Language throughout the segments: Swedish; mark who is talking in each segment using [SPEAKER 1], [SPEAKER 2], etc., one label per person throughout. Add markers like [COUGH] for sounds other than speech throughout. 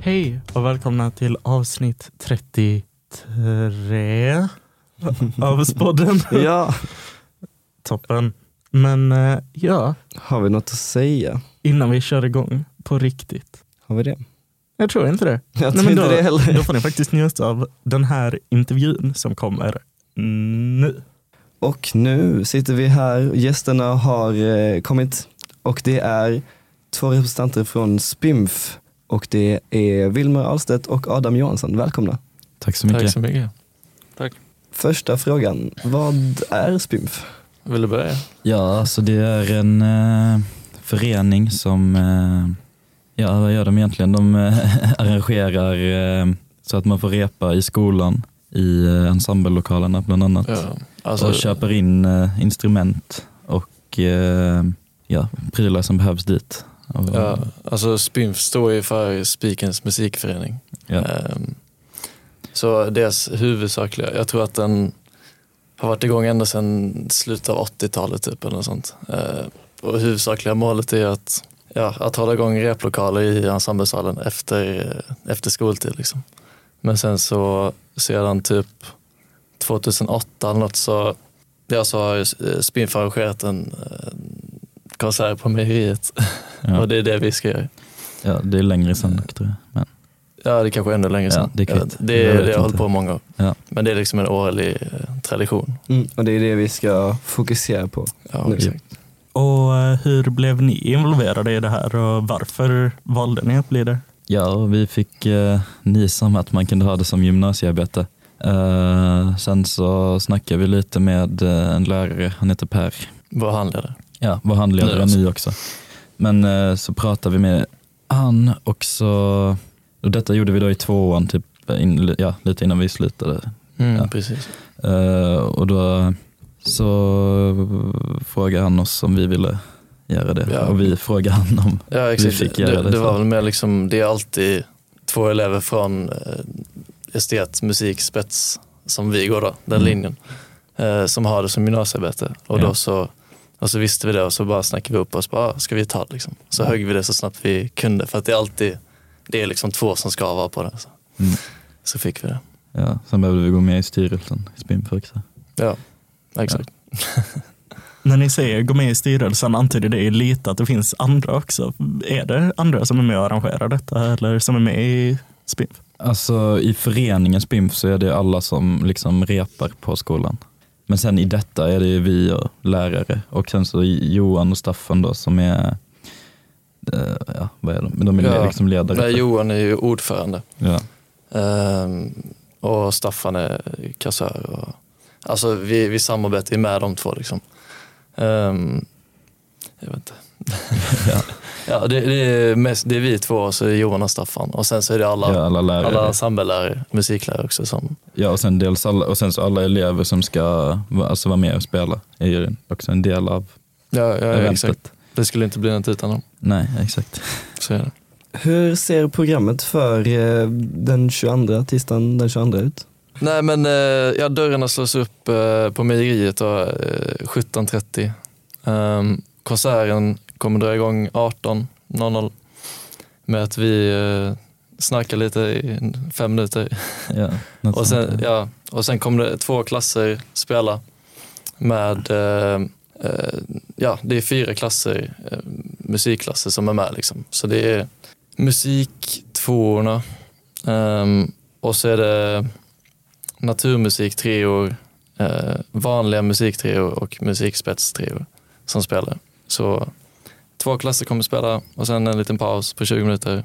[SPEAKER 1] Hej och välkomna till avsnitt 33 av Spodden.
[SPEAKER 2] Ja,
[SPEAKER 1] Toppen. Men eh, ja,
[SPEAKER 2] har vi något att säga?
[SPEAKER 1] innan vi kör igång på riktigt.
[SPEAKER 2] Har vi det?
[SPEAKER 1] Jag tror inte det.
[SPEAKER 2] Jag
[SPEAKER 1] Nej,
[SPEAKER 2] tror
[SPEAKER 1] men
[SPEAKER 2] inte
[SPEAKER 1] då-
[SPEAKER 2] det heller.
[SPEAKER 1] Då får ni faktiskt njuta av den här intervjun som kommer nu.
[SPEAKER 2] Och nu sitter vi här, gästerna har eh, kommit och det är två representanter från Spimf och det är Wilmer Ahlstedt och Adam Johansson. Välkomna.
[SPEAKER 3] Tack så mycket.
[SPEAKER 4] Tack så mycket.
[SPEAKER 2] Första frågan, vad är Spimf?
[SPEAKER 4] Vill du börja?
[SPEAKER 3] Ja, alltså det är en eh, förening som, eh, ja vad gör de egentligen? De eh, [LAUGHS] arrangerar eh, så att man får repa i skolan, i eh, ensemblelokalerna bland annat.
[SPEAKER 4] Ja, Alltså,
[SPEAKER 3] och köper in eh, instrument och eh, ja, prylar som behövs dit. Och,
[SPEAKER 4] ja, alltså Spinf står ju för Spikens musikförening.
[SPEAKER 3] ja.
[SPEAKER 4] Ehm, Så deras huvudsakliga, jag tror att den har varit igång ända sedan slutet av 80-talet typ eller något sånt. Ehm, Och huvudsakliga målet är att, ja, att hålla igång replokaler i ensemblesalen efter, eh, efter skoltid. Liksom. Men sen så sedan typ 2008 eller något så, ja, så har eh, Spinf arrangerat en eh, konsert på Mejeriet
[SPEAKER 3] Ja,
[SPEAKER 4] och det är det vi ska göra.
[SPEAKER 3] ja, det är längre sen dock tror jag. Men,
[SPEAKER 4] Ja, det kanske är ännu längre sedan.
[SPEAKER 3] det är
[SPEAKER 4] Jag
[SPEAKER 3] kvitt.
[SPEAKER 4] vet- det, är
[SPEAKER 3] Jag
[SPEAKER 4] det
[SPEAKER 3] vet
[SPEAKER 4] jag har
[SPEAKER 3] inte.
[SPEAKER 4] hållit på många år.
[SPEAKER 3] Ja.
[SPEAKER 4] Men det är liksom en årlig eh, tradition.
[SPEAKER 1] Mm.
[SPEAKER 2] Och det är det vi ska fokusera på.
[SPEAKER 4] Ja,
[SPEAKER 2] Nu.
[SPEAKER 4] exakt.
[SPEAKER 1] Och eh, hur blev ni involverade i det här och varför valde ni att bli det?
[SPEAKER 3] Ja, och vi fick eh, nys om att man kunde ha det som gymnasiearbete. Eh, sen så snackade vi lite med eh, en lärare, han heter Per,
[SPEAKER 4] Vad handlar det?
[SPEAKER 3] ja, vår handledare
[SPEAKER 4] Nu
[SPEAKER 3] nu,
[SPEAKER 4] alltså.
[SPEAKER 3] nu också. Men eh, så pratade vi med han och så, och detta gjorde vi då i tvåan, typ, in, ja, lite innan vi slutade Ja.
[SPEAKER 4] Mm, Precis.
[SPEAKER 3] Eh, och då så frågade han oss om vi ville göra det
[SPEAKER 4] Ja.
[SPEAKER 3] och vi frågade han om
[SPEAKER 4] Ja, exakt.
[SPEAKER 3] fick göra
[SPEAKER 4] det,
[SPEAKER 3] det
[SPEAKER 4] det
[SPEAKER 3] så.
[SPEAKER 4] var väl mer liksom, det är alltid två elever från eh, estet, musik, spets som vi går då, den
[SPEAKER 3] Mm.
[SPEAKER 4] linjen, eh, som har det som gymnasiearbete. Och
[SPEAKER 3] Ja.
[SPEAKER 4] då så och så visste vi det och så bara snackade vi upp oss, bara, "Ah, ska vi ta det liksom? Så högg vi det så snabbt vi kunde för att det är alltid, det är liksom två som ska vara på det. Så,
[SPEAKER 3] Mm.
[SPEAKER 4] så fick vi det.
[SPEAKER 3] Ja, sen behövde vi gå med i styrelsen i Spinf också.
[SPEAKER 4] Ja, exakt.
[SPEAKER 1] När ni säger gå med i styrelsen antyder det lite att det finns andra också. Är det andra som är med och arrangerar detta eller som är med i Spinf?
[SPEAKER 3] Alltså i föreningen Spimf så är det alla som liksom repar på skolan. Men sen i detta är det ju vi och lärare och sen så Johan och Staffan då som är, eh, ja vad är de, Men de är
[SPEAKER 4] Ja.
[SPEAKER 3] liksom ledare.
[SPEAKER 4] Nej, Johan är ju ordförande
[SPEAKER 3] Ja.
[SPEAKER 4] ehm, och Staffan är kassör. Och, alltså vi, vi samarbetar ju med de två liksom. Ehm, jag vet inte.
[SPEAKER 3] [LAUGHS] Ja.
[SPEAKER 4] [LAUGHS] ja, det, det, är mest, det är vi två och så är det Johan och Staffan och sen så är det alla,
[SPEAKER 3] ja, alla lärare.
[SPEAKER 4] alla samhällslärare, musiklärare också som,
[SPEAKER 3] Ja, och sen dels alla, och sen så alla elever som ska va- alltså, vara med och spela är ju också en del av
[SPEAKER 4] ja, ja,
[SPEAKER 3] eventet.
[SPEAKER 4] exakt. Det skulle inte bli något utan dem.
[SPEAKER 3] Nej, exakt. [LAUGHS]
[SPEAKER 4] Så är det.
[SPEAKER 2] Hur ser programmet för eh, den 22, tisdagen den 22 ut?
[SPEAKER 4] Nej men eh, ja, dörrarna slås upp eh, på mejeriet då, eh, 17.30. Ehm, konserten kommer dra igång 18.00 med att vi eh, snackar lite i fem minuter.
[SPEAKER 3] Ja, något
[SPEAKER 4] Och
[SPEAKER 3] sånt
[SPEAKER 4] sen,
[SPEAKER 3] där.
[SPEAKER 4] ja, och sen kommer det två klasser spela med, eh, eh, ja det är fyra klasser, eh, musikklasser som är med liksom. Så det är musiktvåorna ehm, och så är det naturmusik treor, eh, vanliga musiktreor och musikspetstreor som spelar. Så två klasser kommer spela och sen en liten paus på 20 minuter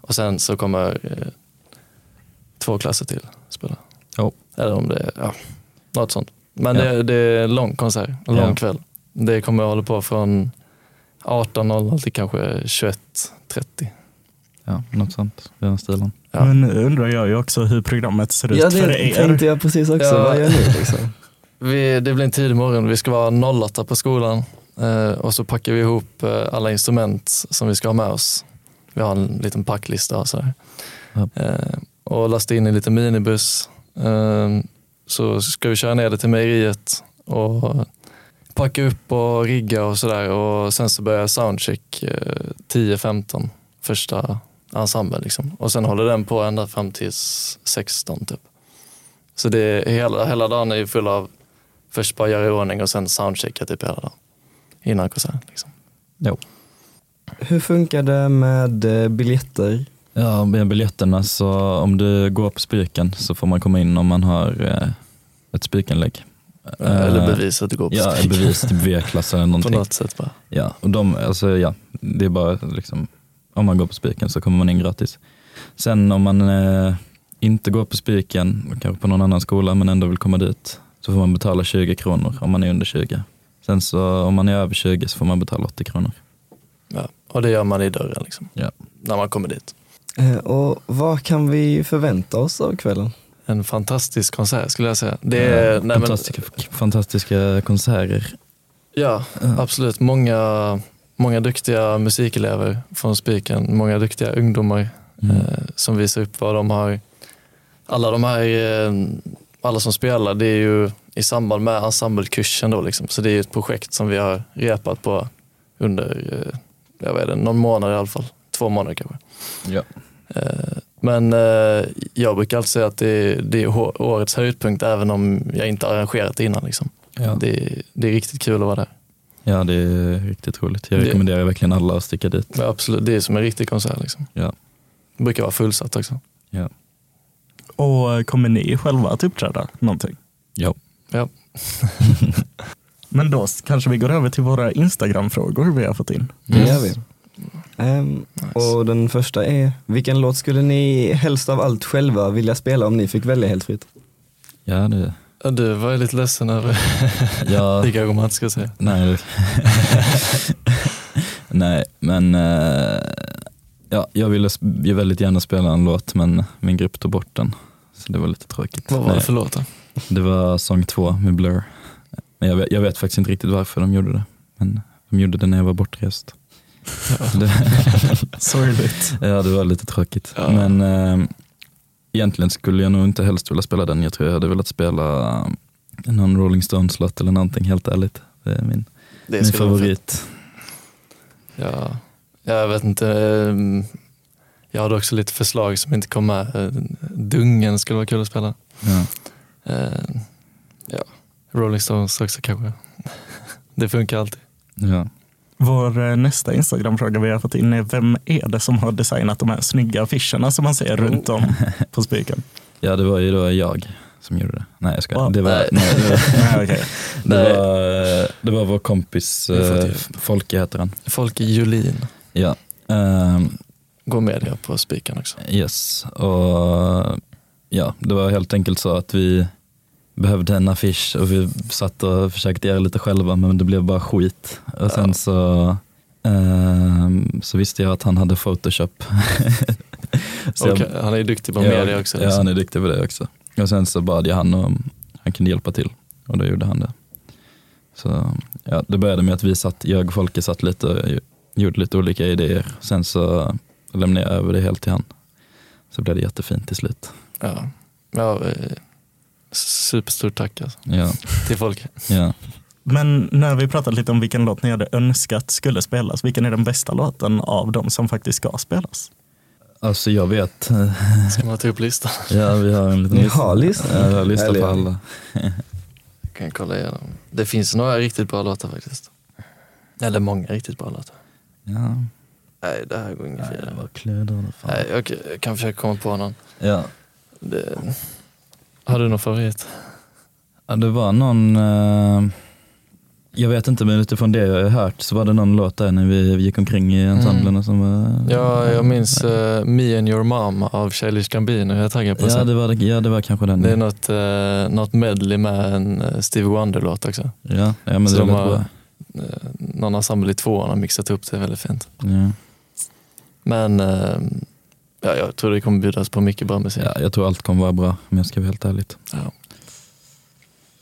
[SPEAKER 4] och sen så kommer eh, två klasser till spela.
[SPEAKER 3] Ja.
[SPEAKER 4] Eller om det är ja, något sånt. Men
[SPEAKER 3] Oh. Ja.
[SPEAKER 4] det, det är en lång konsert, en lång
[SPEAKER 3] Ja.
[SPEAKER 4] kväll. Det kommer hålla på från 18.00 till kanske 21.30.
[SPEAKER 3] ja, något sånt. I den stilen.
[SPEAKER 4] Ja.
[SPEAKER 1] Men nu undrar jag ju också hur programmet ser ut
[SPEAKER 2] Ja
[SPEAKER 1] för
[SPEAKER 2] det
[SPEAKER 1] er.
[SPEAKER 2] tänkte jag precis också,
[SPEAKER 4] Ja.
[SPEAKER 2] vad gör ni liksom?
[SPEAKER 4] Vi, det blir en tidig morgon, vi ska vara 08 på skolan eh, och så packar vi ihop eh, alla instrument som vi ska ha med oss. Vi har en liten packlista och sådär.
[SPEAKER 3] Ja.
[SPEAKER 4] Eh, och lastar in i lite minibuss. Eh, så ska vi köra ner det till mejeriet och packa upp och rigga och sådär och sen så börjar soundcheck eh, 10-15 första ensemble. Liksom. Och sen håller den på ända fram till 16 typ. Så det är, hela, hela dagen är ju full av först bara göra i ordning och sen soundchecka typ hela dagen innan konserten. Liksom.
[SPEAKER 3] Jo.
[SPEAKER 2] Hur funkar det med eh, biljetter?
[SPEAKER 3] Ja, med biljetterna så om du går på spiken så får man komma in om man har eh, ett spikinlägg.
[SPEAKER 4] Eller
[SPEAKER 3] Eh,
[SPEAKER 4] bevis att det går på
[SPEAKER 3] Ja,
[SPEAKER 4] spik.
[SPEAKER 3] bevis till V-klass eller
[SPEAKER 4] På
[SPEAKER 3] någonting.
[SPEAKER 4] något sätt bara.
[SPEAKER 3] Ja, och de, alltså ja, det är bara liksom, om man går på spiken så kommer man in gratis. Sen om man eh, inte går på spiken, kanske på någon annan skola men ändå vill komma dit, så får man betala 20 kronor om man är under 20. Sen så om man är över 20 så får man betala 80 kronor.
[SPEAKER 4] Ja. Och det gör man i dörren liksom.
[SPEAKER 3] Ja.
[SPEAKER 4] När man kommer dit.
[SPEAKER 2] Eh, Och vad kan vi förvänta oss av kvällen?
[SPEAKER 4] En fantastisk konsert skulle jag säga. Det är, nej, men,
[SPEAKER 3] Eh, fantastiska, fantastiska konserter.
[SPEAKER 4] ja,
[SPEAKER 3] Ja.
[SPEAKER 4] absolut. Många, många duktiga musikelever från Spiken. Många duktiga ungdomar
[SPEAKER 3] Mm.
[SPEAKER 4] eh, som visar upp vad de har. Alla de här, eh, alla som spelar, det är ju i samband med ensemblekursen då liksom. Så det är ju ett projekt som vi har repat på under, eh, jag vet inte, någon månad i alla fall. Två månader kanske.
[SPEAKER 3] Ja.
[SPEAKER 4] Eh, Men eh, jag brukar alltid säga att det är, det är hå- årets höjdpunkt även om jag inte har arrangerat det innan. Liksom.
[SPEAKER 3] Ja.
[SPEAKER 4] Det, är, det är riktigt kul att vara där.
[SPEAKER 3] ja, det är riktigt roligt. Jag
[SPEAKER 4] Det-
[SPEAKER 3] rekommenderar verkligen alla att sticka dit.
[SPEAKER 4] Men absolut, det är som en riktig konsert. Liksom.
[SPEAKER 3] Ja.
[SPEAKER 4] Det brukar vara fullsatt också.
[SPEAKER 1] Och eh, kommer ni själva att uppträda någonting?
[SPEAKER 3] Ja.
[SPEAKER 4] Ja.
[SPEAKER 1] Men då kanske vi går över till våra Instagram-frågor vi har fått in.
[SPEAKER 2] Det gör
[SPEAKER 3] Yes.
[SPEAKER 2] vi. Ehm, Och den första är, vilken låt skulle ni helst av allt själva vilja spela om ni fick välja helt fritt?
[SPEAKER 3] Ja, det,
[SPEAKER 4] Ja, Du var ju lite ledsen över [LAUGHS]
[SPEAKER 3] ja.
[SPEAKER 4] vilka argument man ska säga.
[SPEAKER 3] Nej. [LAUGHS] Nej, men eh, ja, jag ville sp- jag väldigt gärna spela en låt men min grupp tog bort den. Så det var lite tråkigt.
[SPEAKER 4] Vad var det
[SPEAKER 3] Nej,
[SPEAKER 4] för låt då?
[SPEAKER 3] det var sång två med Blur. Men jag vet, jag vet faktiskt inte riktigt varför de gjorde det. Men de gjorde det när jag var bortrest. [LAUGHS] Det,
[SPEAKER 1] Sorgligt.
[SPEAKER 3] ja, det var lite tråkigt.
[SPEAKER 4] Ja.
[SPEAKER 3] Men eh, egentligen skulle jag nog inte helst vilja spela den. Jag tror jag hade velat spela eh, någon Rolling Stones-låt eller någonting helt ärligt. Det är min,
[SPEAKER 4] Det
[SPEAKER 3] min
[SPEAKER 4] skulle vara fett.
[SPEAKER 3] favorit.
[SPEAKER 4] Ja, jag vet inte. ehm, Jag hade också lite förslag som inte kom med. Eh, Dungen skulle vara kul att spela.
[SPEAKER 3] Ja.
[SPEAKER 4] Eh, ja. Rolling Stones också kanske. [LAUGHS] Det funkar alltid.
[SPEAKER 3] Ja.
[SPEAKER 1] Vår eh, nästa Instagram-fråga vi har fått in är vem är det som har designat de här snygga affischerna som man ser
[SPEAKER 2] Oh.
[SPEAKER 1] runt om
[SPEAKER 2] [LAUGHS]
[SPEAKER 1] på spiken?
[SPEAKER 3] Ja det var ju då jag som gjorde det. Nej jag skojar.
[SPEAKER 1] Wow.
[SPEAKER 3] Det, var,
[SPEAKER 4] Nej.
[SPEAKER 3] nej, det, var,
[SPEAKER 1] Nej, okej.
[SPEAKER 3] det, var, eh, det var vår kompis,
[SPEAKER 4] Det får
[SPEAKER 3] eh,
[SPEAKER 4] du.
[SPEAKER 3] Folke heter han.
[SPEAKER 4] Folke Julin
[SPEAKER 3] Ja. Ehm,
[SPEAKER 4] går med det på spiken också.
[SPEAKER 3] yes, och ja det var helt enkelt så att vi behövde en affisch och vi satt och försökte göra lite själva men det blev bara skit. Och sen
[SPEAKER 4] Ja.
[SPEAKER 3] så, ehm, så visste jag att han hade photoshop. [LAUGHS] Så jag-
[SPEAKER 4] Och eh, han är ju duktig på
[SPEAKER 3] Ja,
[SPEAKER 4] media också.
[SPEAKER 3] Ja,
[SPEAKER 4] Liksom.
[SPEAKER 3] han är duktig på det också. Och sen så bad jag han om han kunde hjälpa till och då gjorde han det. Så ja, det började med att vi satt, jag och Folke satt lite och ju- gjorde lite olika idéer. Sen så lämnade jag över det helt till han. Så blev det jättefint till slut.
[SPEAKER 4] Ja. Ja, eh, superstort tack alltså,
[SPEAKER 3] Ja, [LAUGHS]
[SPEAKER 4] till Folke.
[SPEAKER 3] ja.
[SPEAKER 1] Men när vi pratat lite om vilken låt ni hade önskat skulle spelas, vilken är den bästa låten av de som faktiskt ska spelas?
[SPEAKER 3] Alltså jag vet, [LAUGHS]
[SPEAKER 4] Ska man ta upp listan?
[SPEAKER 3] ja, vi har en liten
[SPEAKER 2] Ni har listan?
[SPEAKER 3] Ja, vi har lista
[SPEAKER 2] Eller-
[SPEAKER 3] på alla.
[SPEAKER 4] Jag kan kolla igenom. Det finns några riktigt bra låtar faktiskt. Eller många riktigt bra låtar.
[SPEAKER 3] Ja,
[SPEAKER 4] Nej, det här går inget
[SPEAKER 3] nej, det
[SPEAKER 4] vidare.
[SPEAKER 3] var klödor.
[SPEAKER 4] Nej, jag kan- jag kan försöka komma på någon.
[SPEAKER 3] Ja.
[SPEAKER 4] Det... Har du någon favorit?
[SPEAKER 3] Ja, det var någon, eh, jag vet inte men utifrån det jag har hört så var det någon låt där när vi gick omkring i ensemblen
[SPEAKER 4] Mm.
[SPEAKER 3] och som var...
[SPEAKER 4] Ja, jag minns eh, Me and your mom av Childish Gambino. Jag är taggad på
[SPEAKER 3] Ja
[SPEAKER 4] sen.
[SPEAKER 3] det, var, det- ja det var kanske den.
[SPEAKER 4] Det är något, eh, något medley med en eh, Stevie Wonder-låt också.
[SPEAKER 3] ja, ja men
[SPEAKER 4] Så
[SPEAKER 3] det lät
[SPEAKER 4] de har-
[SPEAKER 3] bra.
[SPEAKER 4] Eh, Någon ensemble i tvåan har mixat ihop det väldigt fint.
[SPEAKER 3] Ja.
[SPEAKER 4] Men eh, ja, jag tror det kommer bjudas på mycket bra musik.
[SPEAKER 3] Ja, jag tror allt kommer vara bra om jag ska vara helt ärligt.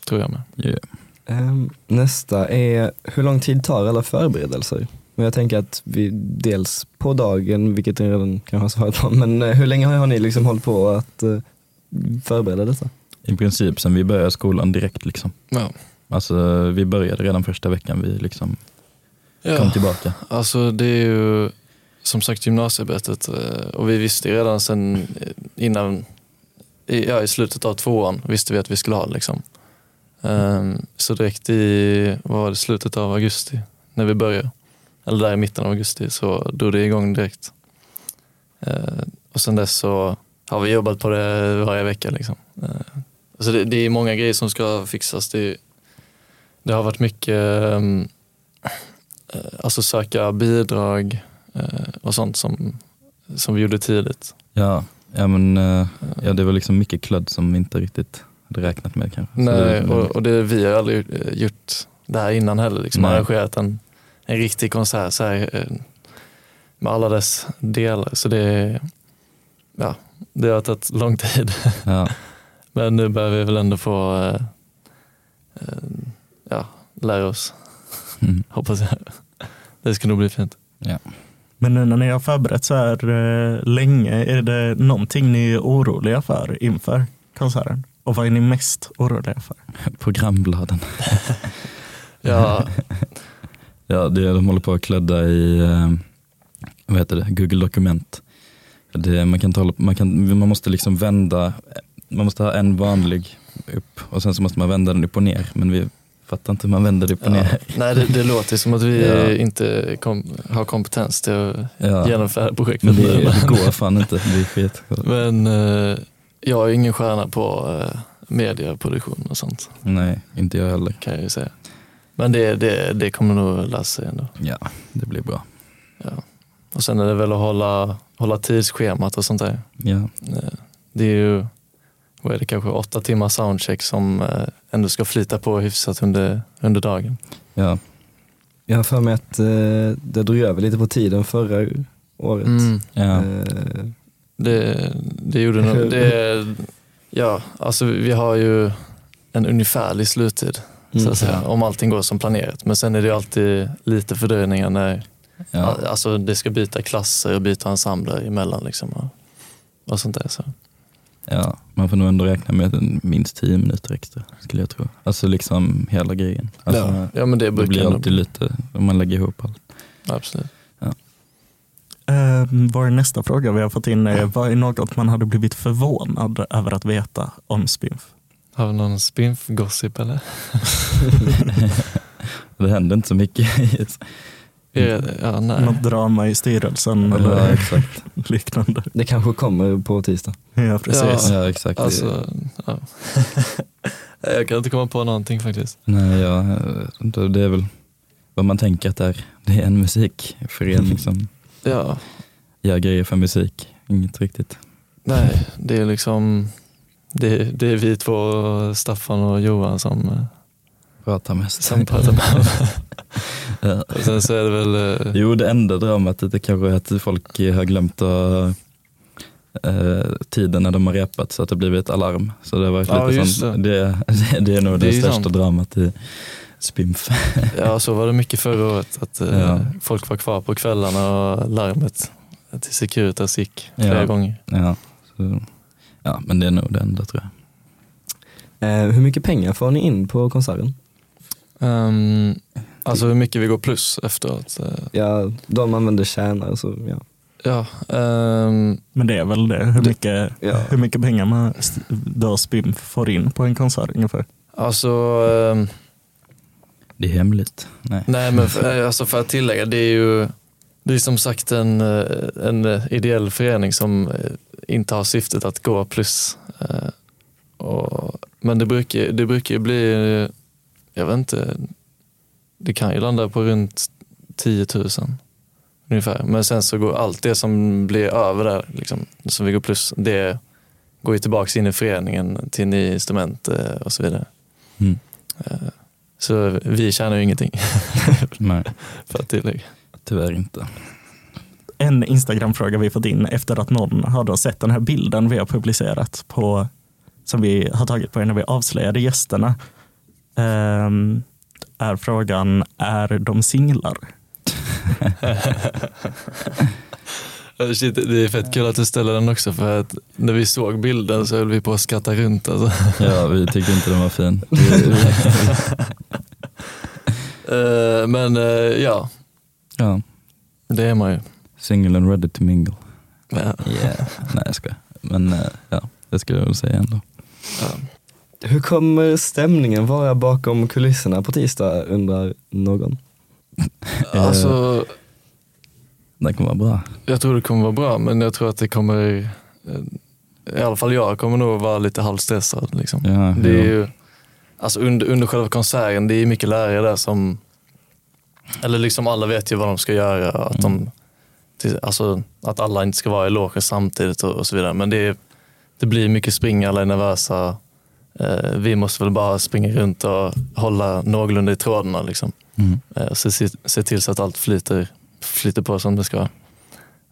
[SPEAKER 4] Tror jag med.
[SPEAKER 3] Ja.
[SPEAKER 2] Ehm, Nästa är, hur lång tid tar alla förberedelser? Men jag tänker att vi dels på dagen, vilket jag redan kanske har svarat på, men eh, hur länge har ni liksom hållit på att eh, förbereda detta?
[SPEAKER 3] I princip sen vi började skolan direkt liksom.
[SPEAKER 4] Ja.
[SPEAKER 3] Alltså vi började redan första veckan vi liksom kom
[SPEAKER 4] Ja,
[SPEAKER 3] tillbaka.
[SPEAKER 4] alltså det är ju som sagt gymnasiearbetet eh, och vi visste ju redan sen eh, innan, i, ja, i slutet av tvåan visste vi att vi skulle ha det, liksom. Ehm, Så direkt i, vad var det, slutet av augusti när vi började, eller där i mitten av augusti så drog det igång direkt. Ehm, Och sen dess så har vi jobbat på det varje vecka liksom. Ehm, Så det, det är många grejer som ska fixas. Det, det har varit mycket ehm, eh, alltså söka bidrag eh, och sånt som, som vi gjorde tidigt.
[SPEAKER 3] Ja, ja men eh, ja, det var liksom mycket klödd som vi inte riktigt hade räknat med kanske. Så
[SPEAKER 4] Nej,
[SPEAKER 3] det, det-
[SPEAKER 4] och, och det, vi har aldrig eh, gjort det här innan heller. Liksom,
[SPEAKER 3] Nej.
[SPEAKER 4] arrangerat en, en riktig konsert så här, eh, med alla dess delar. Så det, ja, det har tagit lång tid. [LAUGHS]
[SPEAKER 3] ja, [LAUGHS]
[SPEAKER 4] Men nu börjar vi väl ändå få eh, eh, ja, lära oss,
[SPEAKER 3] Mm.
[SPEAKER 4] hoppas jag. [LAUGHS] Det ska nog bli fint.
[SPEAKER 1] Men nu när ni har förberett så här eh, länge, är det någonting ni är oroliga för inför konserten? Och vad är ni mest oroliga för?
[SPEAKER 3] Programbladen. [LAUGHS]
[SPEAKER 4] Ja,
[SPEAKER 3] Ja, det, de håller på att klädda i eh, vad heter det? Google dokument. Det, man, kan tala, man, kan, man måste liksom vända, man måste ha en vanlig upp och sen så måste man vända den upp och ner. Men vi fattar inte hur man vänder det upp och
[SPEAKER 4] ja.
[SPEAKER 3] ner.
[SPEAKER 4] Nej, det, det låter som att vi
[SPEAKER 3] Ja.
[SPEAKER 4] inte kom, har kompetens till att
[SPEAKER 3] Ja,
[SPEAKER 4] genomföra projektet
[SPEAKER 3] men det,
[SPEAKER 4] nu.
[SPEAKER 3] det går fan inte, det är skit.
[SPEAKER 4] Men eh, jag är ingen stjärna på eh, medieproduktion och sånt
[SPEAKER 3] Nej, inte jag heller.
[SPEAKER 4] kan jag ju säga. Men det, det, det kommer nog lösa sig ändå.
[SPEAKER 3] Ja, det blir bra.
[SPEAKER 4] Ja. Och sen är det väl att hålla, hålla tidsschemat och sånt där.
[SPEAKER 3] Ja,
[SPEAKER 4] Eh, Det är ju vad är det, kanske åtta timmar soundcheck som eh, ändå ska flyta på hyfsat under, under dagen.
[SPEAKER 3] ja.
[SPEAKER 2] Jag har för mig att eh, det drog över lite på tiden förra året.
[SPEAKER 4] Mm.
[SPEAKER 3] ja.
[SPEAKER 2] Eh,
[SPEAKER 4] Det, det
[SPEAKER 3] [LAUGHS]
[SPEAKER 4] gjorde nog. Det, ja, alltså vi har ju en ungefärlig sluttid. så
[SPEAKER 2] mm.
[SPEAKER 4] att säga, om allting går som planerat. Men sen är det ju alltid lite fördröjningar när
[SPEAKER 3] ja.
[SPEAKER 4] all- alltså, det ska byta klasser och byta ensembler emellan. Liksom, och, och sånt där. Så.
[SPEAKER 3] Ja, man får nog ändå räkna med en- minst 10 minuter extra skulle jag tro. Alltså liksom hela grejen. Alltså,
[SPEAKER 2] Ja.
[SPEAKER 4] Ja men det
[SPEAKER 3] Det
[SPEAKER 4] brukar
[SPEAKER 3] blir
[SPEAKER 4] nog-
[SPEAKER 3] alltid lite, om man lägger ihop allt.
[SPEAKER 4] Absolut.
[SPEAKER 1] Eh, vår nästa fråga vi har fått in är, vad är något man hade blivit förvånad över att veta om Spinf?
[SPEAKER 4] Har vi någon spinf-gossip eller?
[SPEAKER 3] Det händer inte så mycket. [LAUGHS]
[SPEAKER 4] Är
[SPEAKER 3] Mm.
[SPEAKER 4] det- Ja, nej.
[SPEAKER 1] Något drama i styrelsen [LAUGHS]
[SPEAKER 3] ja,
[SPEAKER 1] mm. eller
[SPEAKER 3] exakt.
[SPEAKER 1] liknande?
[SPEAKER 2] Det kanske kommer på tisdag.
[SPEAKER 1] Ja, precis.
[SPEAKER 3] Ja, exakt.
[SPEAKER 4] Alltså, ja. [LAUGHS] Jag kan inte komma på någonting faktiskt.
[SPEAKER 3] Nej, ja, det det är väl vad man tänker att det är. Det är en
[SPEAKER 4] Mm.
[SPEAKER 3] musikförening som
[SPEAKER 4] Ja,
[SPEAKER 3] gör liksom. grejer för musik. Inget riktigt.
[SPEAKER 4] nej, det är liksom det, det är vi två, Staffan och Johan som, eh,
[SPEAKER 3] Prata mest. [LAUGHS]
[SPEAKER 4] som pratar med varandra.
[SPEAKER 3] Ja.
[SPEAKER 4] Och Sen så är det väl eh,
[SPEAKER 3] Jo, det enda dramat är det kanske är att folk har glömt att, eh, tiden när de har repat så att det blivit ett alarm. Så det har varit
[SPEAKER 4] Ja,
[SPEAKER 3] lite
[SPEAKER 4] just
[SPEAKER 3] sånt. Det, det, det är [LAUGHS] nog
[SPEAKER 4] Det
[SPEAKER 3] det,
[SPEAKER 4] är ju
[SPEAKER 3] största
[SPEAKER 4] sant.
[SPEAKER 3] dramat i Spimf.
[SPEAKER 4] Ja, så var det mycket förra året. Att eh,
[SPEAKER 3] Ja.
[SPEAKER 4] folk var kvar på kvällarna och larmet till Securitas gick flera
[SPEAKER 3] Ja.
[SPEAKER 4] gånger.
[SPEAKER 3] [LAUGHS] Ja, så, ja, men det är nog det enda tror jag.
[SPEAKER 2] Eh, hur mycket pengar får ni in på konserten?
[SPEAKER 4] Ehm, alltså hur mycket vi går plus efteråt. eh,
[SPEAKER 2] Ja, de använder tjänar så ja.
[SPEAKER 4] Ja, ehm,
[SPEAKER 1] Men det är väl det, hur mycket,
[SPEAKER 2] ja.
[SPEAKER 1] hur mycket pengar man st- då Spinf får in på en konsert ungefär.
[SPEAKER 4] alltså, ehm,
[SPEAKER 3] Det är hemligt. Nej.
[SPEAKER 4] nej men för, eh, alltså för att tillägga, det är ju det är som sagt en, eh, en eh, ideell förening som eh, inte har syftet att gå plus. Eh, och, men det brukar, ju- det brukar ju bli, eh, jag vet inte, det kan ju landa på runt 10 000 ungefär. Men sen så går allt det som blir över där, liksom, som vi går plus, det går ju tillbaks in i föreningen till nya instrument eh, och så vidare.
[SPEAKER 3] [LAUGHS] Mm.
[SPEAKER 4] Eh, Så vi tjänar ju ingenting [LAUGHS]
[SPEAKER 3] Nej,
[SPEAKER 4] för att tillägga.
[SPEAKER 3] tyvärr inte.
[SPEAKER 1] En Instagram-fråga vi fått in efter att någon har då sett den här bilden vi har publicerat på, som vi har tagit på er när vi avslöjade gästerna. ehm, är frågan, är de singlar?
[SPEAKER 4] Ja, Shit, det är fett kul att du ställer den också för att när vi såg bilden så höll vi på att skratta runt. Alltså.
[SPEAKER 3] Ja, vi tyckte inte den var fin.
[SPEAKER 4] Eh, Men eh, ja,
[SPEAKER 3] Ja,
[SPEAKER 4] det är man ju. Eh,
[SPEAKER 3] Single and ready to mingle.
[SPEAKER 4] Ja.
[SPEAKER 3] Yeah. Nej jag skojar. Men eh, ja, det skulle jag väl säga ändå.
[SPEAKER 4] Ja.
[SPEAKER 2] Hur kommer stämningen vara bakom kulisserna på tisdag undrar någon.
[SPEAKER 4] Alltså,
[SPEAKER 3] Den kommer vara bra.
[SPEAKER 4] jag tror det kommer vara bra, men jag tror att det kommer, eh, i alla fall jag kommer nog vara lite halvstressad. Liksom.
[SPEAKER 3] Ja,
[SPEAKER 4] Det är
[SPEAKER 3] ja.
[SPEAKER 4] ju, alltså under, under själva konserten, det är mycket lärare där som, eller liksom alla vet ju vad de ska göra. Att, de, till- alltså, att alla inte ska vara i logen samtidigt och, och så vidare. Men det, är- det blir mycket springa, alla är nervösa. Eh, vi måste väl bara springa runt och hålla någorlunda i trådarna. Liksom.
[SPEAKER 3] Mm.
[SPEAKER 4] Eh, se, se, se till så att allt flyter, flyter på som det ska.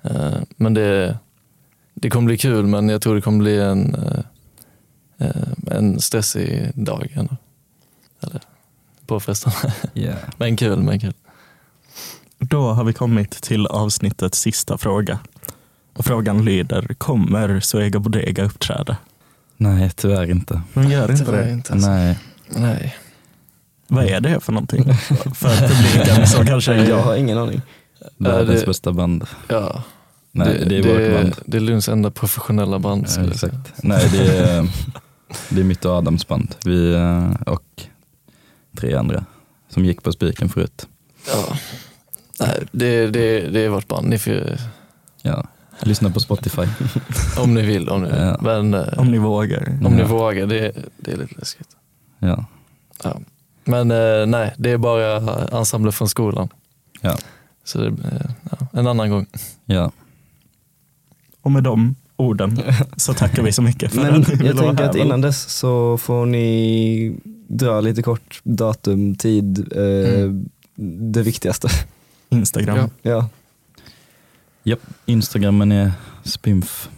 [SPEAKER 4] Eh, men det, det kommer bli kul, men jag tror det kommer bli en, eh, eh, en stressig dag. Ändå. Eller påfrestande. [LAUGHS]
[SPEAKER 3] Yeah.
[SPEAKER 4] men kul, men kul.
[SPEAKER 1] Då har vi kommit till avsnittets sista fråga. Och frågan lyder, kommer Zoega Bodega uppträda?
[SPEAKER 3] Nej tyvärr inte.
[SPEAKER 1] De gör inte
[SPEAKER 4] Tyvärr
[SPEAKER 1] det.
[SPEAKER 4] inte, alltså.
[SPEAKER 3] Nej.
[SPEAKER 4] Nej.
[SPEAKER 1] Vad är det för någonting? för publiken som
[SPEAKER 2] [LAUGHS]
[SPEAKER 1] kanske är
[SPEAKER 2] Jag har
[SPEAKER 1] [LAUGHS]
[SPEAKER 2] ingen aning.
[SPEAKER 3] Världens
[SPEAKER 4] det-
[SPEAKER 3] bästa band.
[SPEAKER 4] Ja,
[SPEAKER 3] Nej det, är
[SPEAKER 4] det,
[SPEAKER 3] vårt band.
[SPEAKER 4] det är Lunds enda professionella band.
[SPEAKER 3] Ja,
[SPEAKER 4] skulle jag säga.
[SPEAKER 3] exakt. Nej det är,
[SPEAKER 4] [LAUGHS]
[SPEAKER 3] det är mitt och Adams band. Vi eh, och tre andra som gick på spiken förut.
[SPEAKER 4] Ja. Nej, det, det, det är vårt band. Ni får,
[SPEAKER 3] Ja. Lyssna på Spotify.
[SPEAKER 4] [LAUGHS] om ni vill. Om ni, vill.
[SPEAKER 3] Ja.
[SPEAKER 4] Men eh,
[SPEAKER 1] Om ni vågar.
[SPEAKER 4] om ni
[SPEAKER 3] Ja.
[SPEAKER 4] vågar, det, det är lite läskigt.
[SPEAKER 3] Ja.
[SPEAKER 4] Ja. Men eh, nej, det är bara ensemble från skolan.
[SPEAKER 3] Ja.
[SPEAKER 4] Så det, eh, ja, en annan gång.
[SPEAKER 3] Ja.
[SPEAKER 1] Och med de orden så tackar vi så mycket för
[SPEAKER 2] Men
[SPEAKER 1] att ni ville
[SPEAKER 2] jag
[SPEAKER 1] vara
[SPEAKER 2] tänker
[SPEAKER 1] här,
[SPEAKER 2] att
[SPEAKER 1] väl?
[SPEAKER 2] innan dess så får ni dra lite kort datum, tid, eh,
[SPEAKER 1] Mm.
[SPEAKER 2] det viktigaste. [LAUGHS]
[SPEAKER 1] Instagram.
[SPEAKER 4] Ja.
[SPEAKER 2] Ja.
[SPEAKER 3] Japp, Instagrammen är spimf.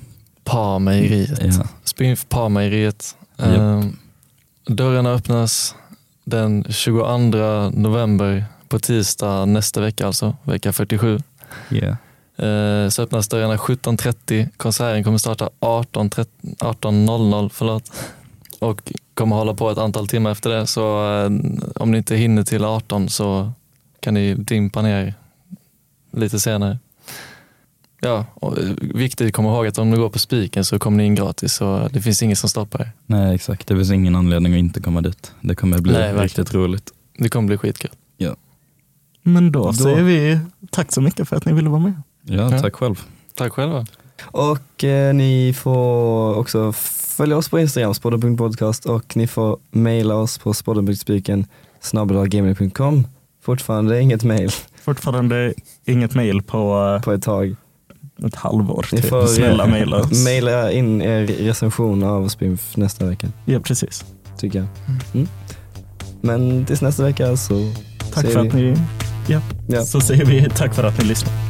[SPEAKER 4] Parmejeriet.
[SPEAKER 3] Ja.
[SPEAKER 4] Spinf Parmejeriet.
[SPEAKER 3] Japp.
[SPEAKER 4] Ehm, dörrarna öppnas den 22 november på tisdag nästa vecka alltså, vecka 47.
[SPEAKER 3] Yeah.
[SPEAKER 4] Eh, så öppnas dörrarna 17.30. Konserten kommer starta 18.30 18.00 förlåt. och kommer hålla på ett antal timmar efter det. Så eh, om ni inte hinner till 18 så kan ni dimpa ner lite senare. Ja, och eh, viktigt att komma ihåg att om ni går på spiken så kommer ni in gratis så det finns ingen som stoppar er.
[SPEAKER 3] Nej exakt, det finns ingen anledning att inte komma dit. Det kommer bli
[SPEAKER 4] Nej, verkligen.
[SPEAKER 3] riktigt roligt.
[SPEAKER 4] Det kommer bli skitkul.
[SPEAKER 1] Men då,
[SPEAKER 2] Då-
[SPEAKER 1] säger vi tack så mycket för att ni ville vara med.
[SPEAKER 3] Ja,
[SPEAKER 4] Ja.
[SPEAKER 3] tack själv.
[SPEAKER 4] Tack själva.
[SPEAKER 2] Och eh, ni får också följa oss på Instagram, spodden.podcast och ni får mejla oss på spodden.spiken snabelagmail.com. Fortfarande inget mejl
[SPEAKER 1] Fortfarande inget mejl på eh,
[SPEAKER 2] på ett tag.
[SPEAKER 1] ett halvår.
[SPEAKER 2] Ni
[SPEAKER 1] Typ.
[SPEAKER 2] får, eh, [LAUGHS]
[SPEAKER 1] Snälla mejla oss.
[SPEAKER 2] Mejla in er recension av Spinf nästa vecka,
[SPEAKER 1] Ja, precis.
[SPEAKER 2] tycker jag. Mm. Men tills nästa vecka så
[SPEAKER 1] Tack
[SPEAKER 2] säger
[SPEAKER 1] för
[SPEAKER 2] vi-
[SPEAKER 1] att ni... Ja.
[SPEAKER 2] Ja.
[SPEAKER 1] Så säger vi tack för att ni lyssnar.